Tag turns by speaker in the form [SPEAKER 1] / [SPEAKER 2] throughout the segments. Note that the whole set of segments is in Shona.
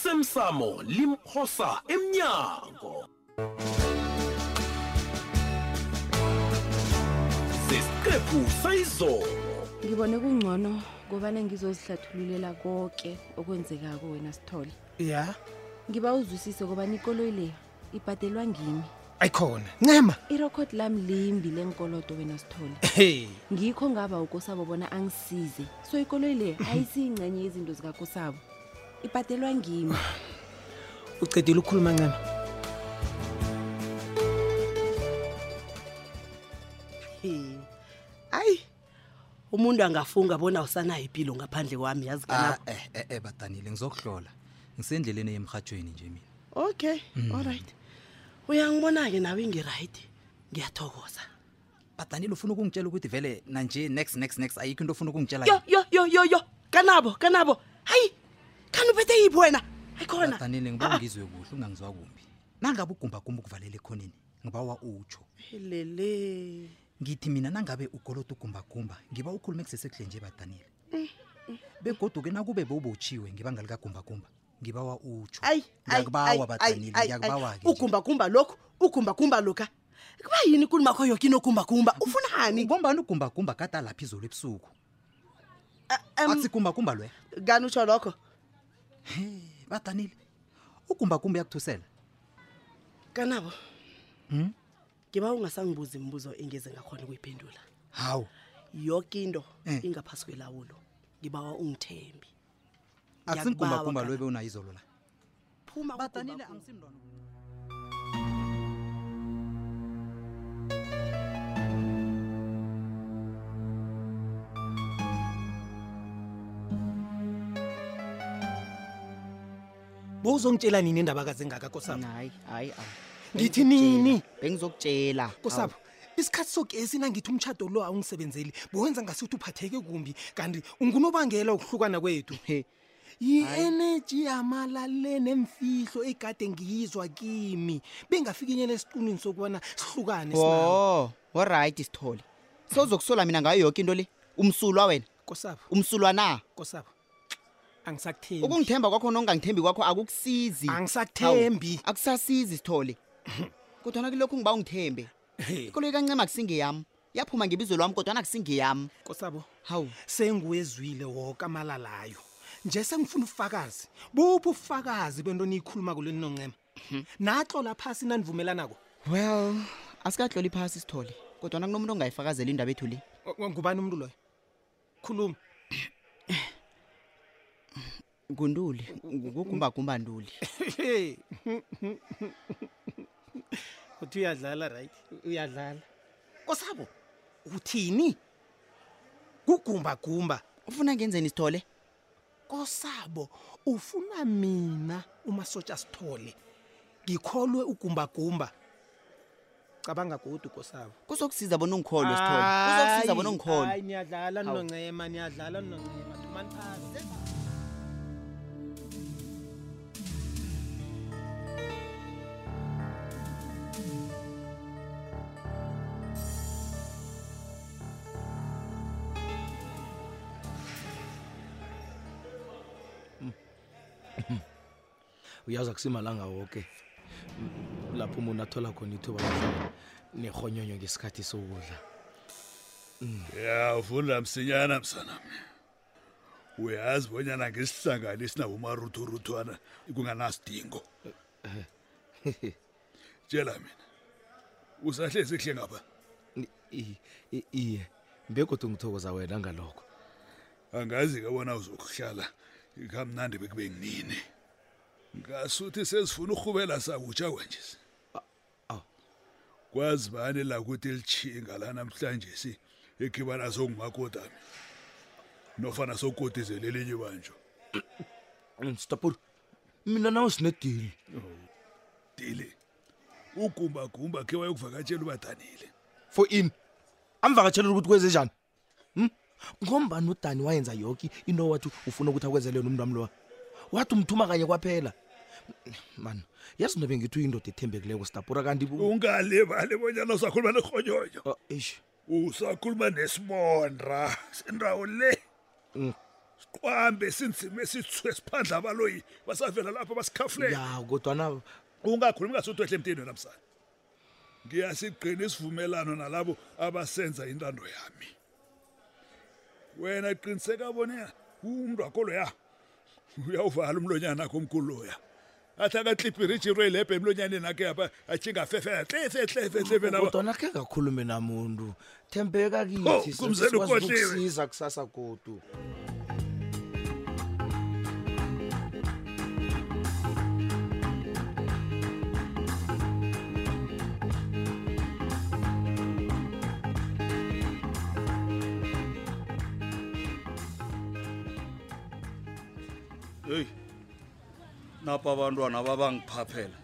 [SPEAKER 1] osemsamo limphosa emnyango sesiqephu sayizolo
[SPEAKER 2] ngibone kungcono kobana ngizozihlathululela konke okwenzekako wena sithole
[SPEAKER 3] ya
[SPEAKER 2] ngiba uzwisise kobana ikoloyi le ibhadelwa ngimi
[SPEAKER 3] ayikhona ncema
[SPEAKER 2] irekhodi lami limbi lenkoloto wena sithole
[SPEAKER 3] hey
[SPEAKER 2] ngikho ngaba ukosabo bona angisize so ikoloyi le ayisiyingcenye yezinto zikakosabo ibhadelwa ngimi
[SPEAKER 3] ucedile ukukhuluma ncema
[SPEAKER 4] Hmm. hayi umuntu angafunga bona usanayo impilo ngaphandle kwami yazi
[SPEAKER 5] Ah.
[SPEAKER 4] kana
[SPEAKER 5] e-e badanile eh, ngizokuhlola ngisendleleni emrhatshweni nje mina
[SPEAKER 4] okay
[SPEAKER 5] Mm.
[SPEAKER 4] allright uyangibona-ke nawe ngirayithi ngiyathokoza
[SPEAKER 5] badanile ufuna ukungitshela ukuthi vele nanje next next next ayikho into ofuna ukungitshela
[SPEAKER 4] yo yo yo yo yo kanabo kanabo hayi khani ubethe yiphi wena ayikhona
[SPEAKER 5] badanile
[SPEAKER 4] Ah.
[SPEAKER 5] ngiba ngizwe kuhle ungangizwa kumbi nangabe ugumbagumba ukuvalela ekhoneni ngibawa utsho
[SPEAKER 4] Ah, lele
[SPEAKER 5] ngithi mina nangabe ugolota ugumbagumba ngiba ukhulume kusesekudle nje badanile
[SPEAKER 4] Eh,
[SPEAKER 5] begoduke nakube bewubotshiwe ngebanga likagumbagumba ngibawa utsho
[SPEAKER 4] ayi ayi, ayi,
[SPEAKER 5] ngiyakubawa
[SPEAKER 4] ayi,
[SPEAKER 5] badanile
[SPEAKER 4] ayi, ayi.
[SPEAKER 5] ngiyakubawa-ke nje.
[SPEAKER 4] ugumbagumba lokhu ugumbagumba lokha kuba yini kulumakho yoke inogumbagumba ufunani
[SPEAKER 5] ngombani ugumbagumba kade alapha izolo ebusuku
[SPEAKER 4] Ah, em,
[SPEAKER 5] akusigumbagumba lwe
[SPEAKER 4] kani utsho lokho
[SPEAKER 5] Eh, badanile ugumbagumba uyakuthusela
[SPEAKER 4] kanabo
[SPEAKER 5] Hmm?
[SPEAKER 4] ngiba ungasangibuza imibuzo engeze ngakhona ukuyiphendula
[SPEAKER 5] hawu
[SPEAKER 4] yoke into
[SPEAKER 5] Eh.
[SPEAKER 4] ingaphasi kwelawulo ngibawa ungithembi
[SPEAKER 5] akusigumbagumba
[SPEAKER 4] Ngiyakubaba,
[SPEAKER 5] lwe bewunayizolo la
[SPEAKER 4] phuma
[SPEAKER 5] badanile
[SPEAKER 4] kugumbagumba.
[SPEAKER 5] angisimntwana
[SPEAKER 3] bowuzongitshela nini indaba kazengaka kosabo
[SPEAKER 6] hayi hayi awu.
[SPEAKER 3] Ngithi
[SPEAKER 6] Bengizokutjela,
[SPEAKER 3] nini?
[SPEAKER 6] bengizokutshela
[SPEAKER 3] kosabo isikhathi sogesi nangithi umtshado lo awungisebenzeli bowenza ngasuthi uphatheke kumbi kanti ungunobangela wokuhlukana kwethu
[SPEAKER 6] Awu. He,
[SPEAKER 3] yi-eneji yamalale nemfihlo egade ngiyizwa kimi bengafikinyela esiqinini sokubana sihlukane sinawe.
[SPEAKER 6] wo oright sithole sewuzokusola mina ngayo yoke into le umsulwa wena
[SPEAKER 3] kosabo
[SPEAKER 6] umsulwa na
[SPEAKER 3] kosabo angisakuthembi
[SPEAKER 6] ukungithemba kwakho nokungangithembi kwakho akukusizi
[SPEAKER 3] angisakuthembi
[SPEAKER 6] Awu, akusasizi sithole kodwana kulokhu ngiba ungithembe
[SPEAKER 3] He,
[SPEAKER 6] ikoloyi kancema akusingeyami yaphuma ngebizo lwami kodwana akusingeyami
[SPEAKER 3] kosabo
[SPEAKER 6] hawu
[SPEAKER 3] sengiwezwile woke amalalayo nje sengifuna ubufakazi buphi ubufakazi bento niyikhuluma kulweni noncema
[SPEAKER 6] Mhm.
[SPEAKER 3] natlola phasi nanivumelanako
[SPEAKER 6] well asikahloli phasi sithole kodwana kunomuntu ongayifakazela indaba ethu le
[SPEAKER 3] Wa- wa- ngubani umntu loyo khuluma
[SPEAKER 6] ngunduli kugumbagumba nduli
[SPEAKER 3] uthi uyadlala right uyadlala kosabo uthini kugumbagumba
[SPEAKER 6] ufuna ngenzeni sithole
[SPEAKER 3] kosabo ufuna mina umasotsha sithole ngikholwe ugumbagumba cabanga kudu kosabo
[SPEAKER 6] kuzokusiza bona ungikholwe sithole kuzokusiza bona ungikholwe
[SPEAKER 3] niyadlala
[SPEAKER 6] Hawu.
[SPEAKER 3] noncema niyadlala noncema dumani phasi
[SPEAKER 7] uyazi akusimalanga woke M- lapho umuntu athola khona ithuba lokudlala nerhonyonyo ngesikhathi sokudla
[SPEAKER 8] ya ufunda msinyana msanam uyazi bonyana ngisihlanganisi nabomaruthuruthwana kunganasidingo tshela mina usahlezi kuhle ngapha
[SPEAKER 7] I- i- i- iye begoda ngithokoza wena ngalokho
[SPEAKER 8] angazi ke bona uzokuhlala kamnandi bekube nginini ngasuthi sesifuna urhubela sakutsha kwenje kwazi bani lakuthi lichinga la namhlanje si ikhibana sokungakodami nofana sokodizela elinye banjo
[SPEAKER 7] Mm, stopur mina nawe sinedili
[SPEAKER 8] dile ugumbagumba khe wayokuvakatshela ubadanile
[SPEAKER 7] for ini amvakatshelela ukuthi kweze njani Hmm? ngombani udani wayenza yoke into wathi ufuna ukuthi akwenzelele umntu wami lowa wathi umthuma kanye kwaphela mani yazi into bengithi uyindoda ethembekileko stapura kanti bu-
[SPEAKER 8] ungalibali bonyana usakhuluma nerhonyonyo
[SPEAKER 7] Ah, eish.
[SPEAKER 8] usakhuluma nesimondra sendawo le siqwambe sinzima esithwe siphandla abaloyi basavela lapho basikhafulela
[SPEAKER 7] ya kodwana
[SPEAKER 8] ungakhulumi ngasutwehle emtini wena msana ngiyasigqina isivumelano nalabo abasenza intando yami wena qiniseka bona umntu akoloya uyawuvala umlonyana akho omkhulu loya athi akatlibhiriji into ilebhe emlonyaneni akhe apha ajingafefela tlefetlefetlefe naba
[SPEAKER 7] kodwana khe ngakhulume namuntu
[SPEAKER 8] Ho,
[SPEAKER 7] thembeka kithi
[SPEAKER 8] Kumzeni ukhohliwe.
[SPEAKER 7] ukusiza kusasa godu
[SPEAKER 9] heyi napa abantwana babangiphaphela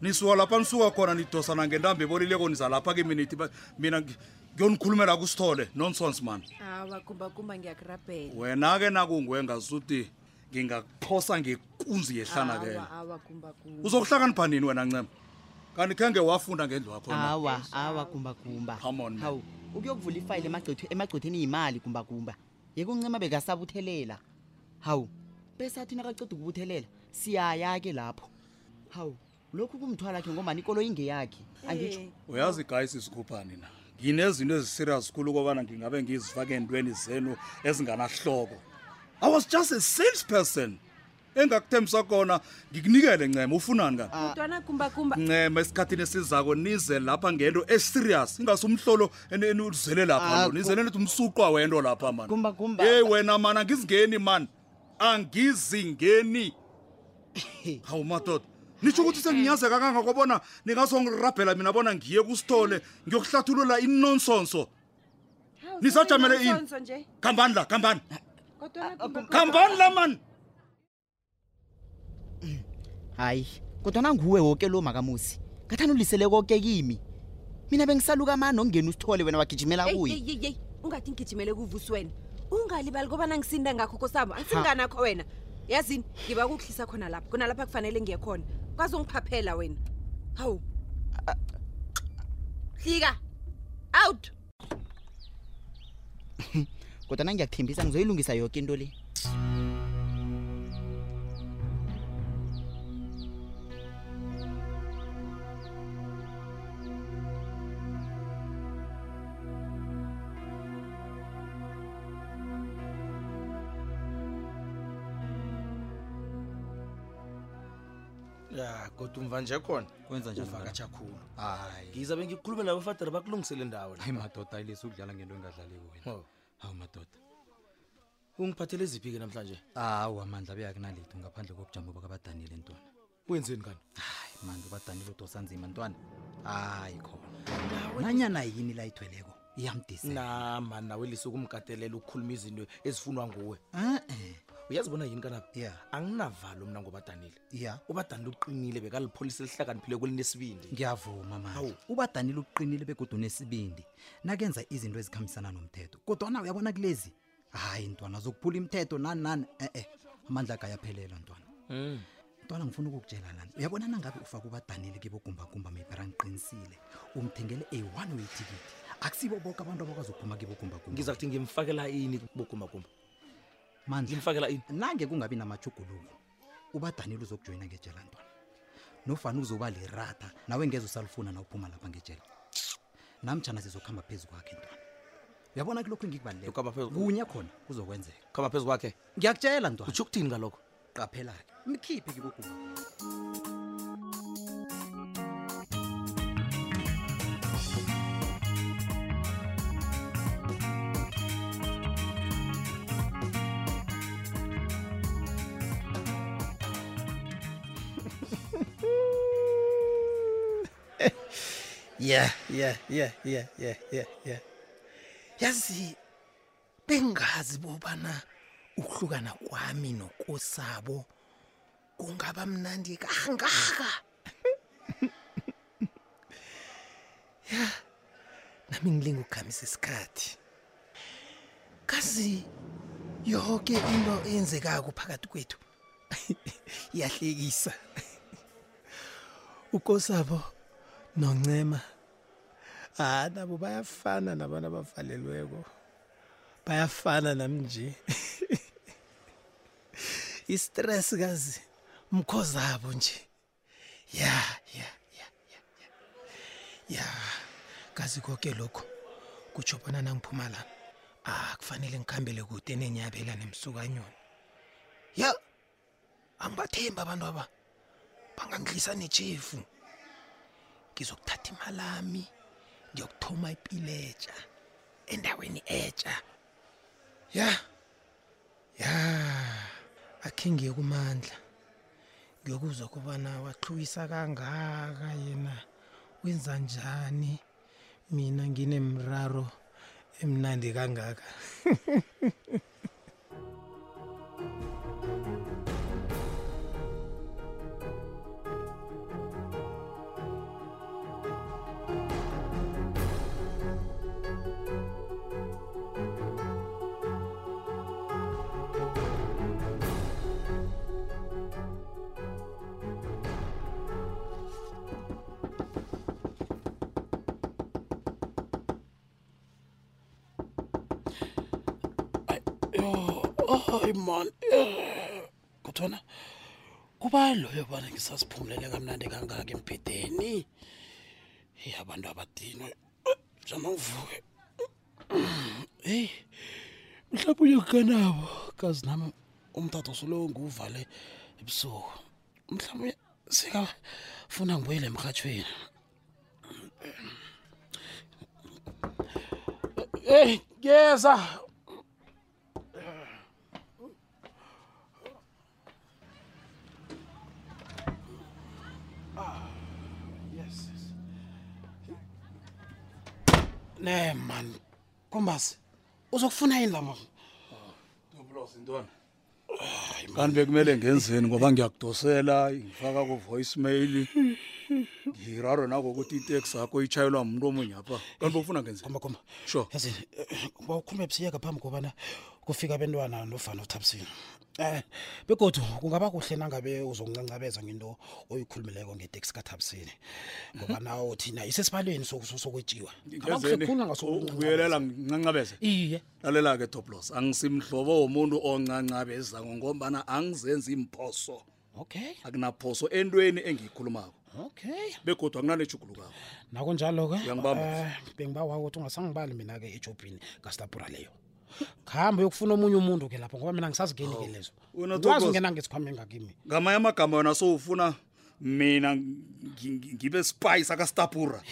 [SPEAKER 9] nisuka lapha nisuka khona nidosana ngentambo ebolileko niza lapha kimi nithi ba- mina ngi- ngiyonikhulumela kusithole nonsense man
[SPEAKER 2] awa kumbakumba ngiyakurabhela
[SPEAKER 9] wena-ke nakungwenga suthi ngingakuphosa ngekunzi yehlana-kele
[SPEAKER 2] awa kumbakumba
[SPEAKER 9] uzokuhlakanipha nini wena ncema kanti khe nge wafunda ngendlu yakho na?
[SPEAKER 6] awa awa kumbakumba
[SPEAKER 9] Come on, man.
[SPEAKER 6] hawu ukuyokuvula ifayile emagcwethu- emagcwetheni yimali kumbakumba yekuncima bekasabuthelela hawu bese athi nakaceda ukubuthelela siyaya-ke lapho hawu lokhu kumthwala khe ngomani ikolo ingeyakhe
[SPEAKER 9] Eh.
[SPEAKER 6] angitsho
[SPEAKER 9] uyazi gayi sisikhuphani na nginezinto eziserious khulu kobana ngingabe ngizifake entweni zenu ezinganahloko i was just a sales person engakuthembisa kona ngikunikele ncema ufunani ka
[SPEAKER 2] mntwana kumbakumba
[SPEAKER 9] ncema esikhathini esizako nize lapha ngento eserious ingasumhlolo uzele lapha
[SPEAKER 6] Ah,
[SPEAKER 9] lo nizele nithi umsuqwa wento lapha mani
[SPEAKER 6] Kumbakumba.
[SPEAKER 9] ey wena mani angizingeni mani angizingeni hawu madoda nitsho ukuthi senginyazeka kangakobona ningazongirabhela mina bona ngiye kusithole ngiyokuhlathulula inonsonso
[SPEAKER 2] Hawu,
[SPEAKER 9] nisajamele
[SPEAKER 2] sekuyi
[SPEAKER 9] ini? Ah,
[SPEAKER 2] nonsense nje
[SPEAKER 9] khambani la khambani
[SPEAKER 2] kodwana kumbakumba
[SPEAKER 9] khambani la mani
[SPEAKER 6] hayi kodwa nanguwe woke lo makamusi ngathani ulisele koke kimi mina bengisaluka mani okungena usithole wena wagijimela
[SPEAKER 2] Eyi,
[SPEAKER 6] kuye
[SPEAKER 2] eyi, eyi, eyi, ungathi ngigijimele kuvusi wena ungalibali kobana ngisinda ngakho kosabo angisinganakho wena yazini ngiba kukuhlisa khona lapha kunalapha kufanele ngiye khona kwazongiphaphela wena hawu hlika out
[SPEAKER 6] kodwa nangiyakuthembisa ngizoyilungisa yoke into le
[SPEAKER 7] ya kodwa umva nje khona
[SPEAKER 9] kwenza
[SPEAKER 7] uvakatsha khulu hayi ngizabe ngikhulume nabafadari bakulungisele indawo la.
[SPEAKER 9] hayi madoda ayilesi ukudlala ngento engadlaleki wena
[SPEAKER 7] Oh,
[SPEAKER 9] hawu madoda
[SPEAKER 7] ungiphathele ziphi-ke namhlanje
[SPEAKER 5] awu amandla beyakunalitho ngaphandle kokujama bakabadanile ntwana
[SPEAKER 7] wenzeni kani
[SPEAKER 5] hayi manje ubadanile udosanzima ntwana hayi khona nanyana yini la ithweleko iyamdisela
[SPEAKER 7] na mani nawe lise ukumgatelela ukukhuluma izinto ezifunwa nguwe
[SPEAKER 5] e-e
[SPEAKER 7] uyazibona yini kanabo
[SPEAKER 5] ya
[SPEAKER 7] anginavalo mna ngobadanile
[SPEAKER 5] ya
[SPEAKER 7] ubadanile uqinile bekalipholisa elihlakaniphile kwelinesibindi
[SPEAKER 5] ngiyavuma manje
[SPEAKER 7] Hawu.
[SPEAKER 5] ubadanile uqinile begodwa unesibindi nakenza izinto ezikhambisana nomthetho kodwana uyabona kulezi hayi ntwana zokuphula imithetho nani nani e-e amandla akhe ayaphelela ntwana
[SPEAKER 7] Mm.
[SPEAKER 5] ntwana ngifuna ukukutshela lana uyabona nangabe ufake ubadanile kibogumbagumba mebera ngiqinisile umthengele a-one way ticket akusibo boke abantu abakwazi ukuphuma kibogumbagumba
[SPEAKER 7] ngizakuthi ngimfakela ini bogumagumba
[SPEAKER 5] mandla
[SPEAKER 7] ngimfakela ini
[SPEAKER 5] nange kungabi namajuguluko ubadanile uzokujoyina ngejela ntwana nofana uzoba liratha nawe ngeze usalifuna na uphuma lapha ngejela namtshana sizokuhamba phezu kwakhe ntwana uyabona kulokhu
[SPEAKER 7] Ukuhamba phezu-
[SPEAKER 5] engikubalulekukunye khona kuzokwenzeka
[SPEAKER 7] khamba phezu kwakhe
[SPEAKER 5] ngiyakutshela ntwana
[SPEAKER 7] utsho ukuthini ngalokho
[SPEAKER 5] qaphela-ke mkhiphi kiboguma
[SPEAKER 3] yeah yeah yeah yeah yeah yeah yeah yazi bengazi bobana ukuhlukana kwami nokosabo kungaba mnandi kangaka ya nami ngilinga ukukhamisa isikhathi kazi yonke into eyenzekako phakathi kwethu iyahlekisa ukosabo noncema ah nabo bayafana nabantu abavalelweko bayafana nami nje istress kazi mkhozabo nje ya ya ya ya, ya ya kazi konke lokho kutsho bona nangiphuma la ah kufanele ngikhambele kude nenyabela nemsukanyoni ya angibathemba abantu aba bangangidlisa netshefu ngizokuthatha imalami ngiyokuthoma ipiletsha endaweni etsha ya yeah. ya akhe ngiye kumandla ngiyokuzwa kubana wahlukisa kangaka yena wenza njani mina nginemraro emnandi kangaka
[SPEAKER 10] hayi mani eh, kuthona kuba loyo bana ngisasiphumulele kamnandi kangaka embhedeni eyi abantu abadinwe jama ngivuke heyi mhlawumbe uyokukanabo kazi nami umthatho sulowo ngiwuvale ebusuku mhlawumbe sikafuna ngibuyele emrhatshweni eyi ngeza yes yes ne man kombasi uzokufuna yini lama
[SPEAKER 9] kanti bekumele ngenzeni ngoba ngiyakudosela ngifaka ku-voicemail ngiraro nakokuthi iteksi yakho itshayelwa mntu omunye apha kanti bokufuna ngenzeni
[SPEAKER 10] komba komba
[SPEAKER 9] Sure.
[SPEAKER 10] yazini wawukhulume ebusiyeka phambi kobana kufika abentwana nofana uthabisini um begodu kungaba kuhle nangabe uzongicancabeza ngento oyikhulumileko ngeteksi kathabisini ngoba nawo thina isesibalweni sokwetshiwa
[SPEAKER 9] Ngenzeni? ubuyelela ngincancabeze
[SPEAKER 10] iye
[SPEAKER 9] lalela-ke toplos angisimhlobo womuntu oncancabezako ngombana angizenzi imphoso
[SPEAKER 10] okay
[SPEAKER 9] akunaphoso entweni engiyikhulumako
[SPEAKER 10] okay
[SPEAKER 9] begodwa akunanejugulukako
[SPEAKER 10] nakunjalo-ke
[SPEAKER 9] Uyangibamba?
[SPEAKER 10] eh, bengibawa ukuthi ungasangibali mina-ke ejobhini kastabura leyo khambe yokufuna omunye umuntu-ke lapho ngoba mina ngisazingeni-ke lezo
[SPEAKER 9] Wena
[SPEAKER 10] wazi
[SPEAKER 9] Thokoza.
[SPEAKER 10] ungena ngesikhwameni ngakimi
[SPEAKER 9] ngamanye amagama yona sowufuna mina ngi- ngi- ngibe spice akastapura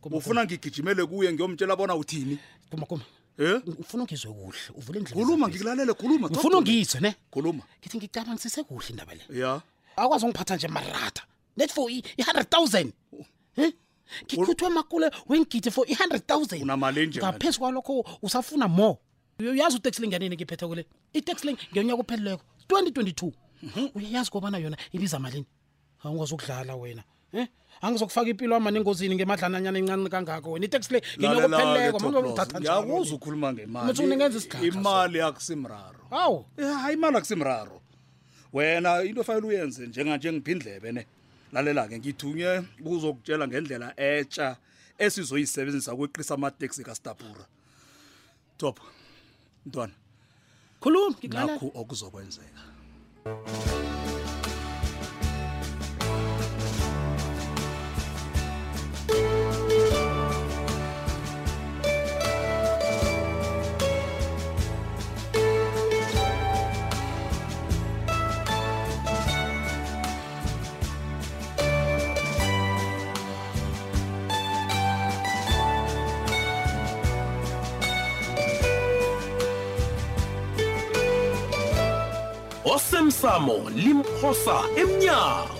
[SPEAKER 10] Kuma,
[SPEAKER 9] ufuna ngigijimele kuye ngiyomtshela bona uthini
[SPEAKER 10] kuma kuma
[SPEAKER 9] Eh?
[SPEAKER 10] ufuna ungizwe kuhle uvule indlela
[SPEAKER 9] khuluma
[SPEAKER 10] zakho.
[SPEAKER 9] ngikulalele khuluma
[SPEAKER 10] ufuna ungizwe ne
[SPEAKER 9] khuluma
[SPEAKER 10] ngithi ngicabangisise kuhle indaba le
[SPEAKER 9] ya
[SPEAKER 10] akwazi ungiphatha nje marata net for i-hundred thousand ngikhuthwe makule wengidi for i-hundred thousand
[SPEAKER 9] Unamali enje manje.
[SPEAKER 10] ngaphezu kwalokho usafuna more uyazi iteksi linganini ngiphetheko le iteksi ling ngeyonyaka upheleleko twenty twenty-two uyayazi kobana yona ibiza malini awungazokudlala wena um angizokufaka impilo amani engozini ngemadlananyana encane kangako wena iteksi le ngenyaka upheleleko mangauthatha
[SPEAKER 9] ngiyakuza ukhuluma
[SPEAKER 10] Muthi unikeza isigagca, so.
[SPEAKER 9] ngemaliimali akusimraro
[SPEAKER 10] hawu
[SPEAKER 9] Eh, hayi imali akusimraro wena into ofanele uyenze njenganjengiphindlebe ne lalela-ke ngithunywe ukuzokutshela ngendlela etsha esizoyisebenzisa ukweqisa amateksi kastapura top mntwana
[SPEAKER 10] khuluma ngikulalela
[SPEAKER 9] nakho okuzokwenzeka
[SPEAKER 1] osemsamo limphosa emnyango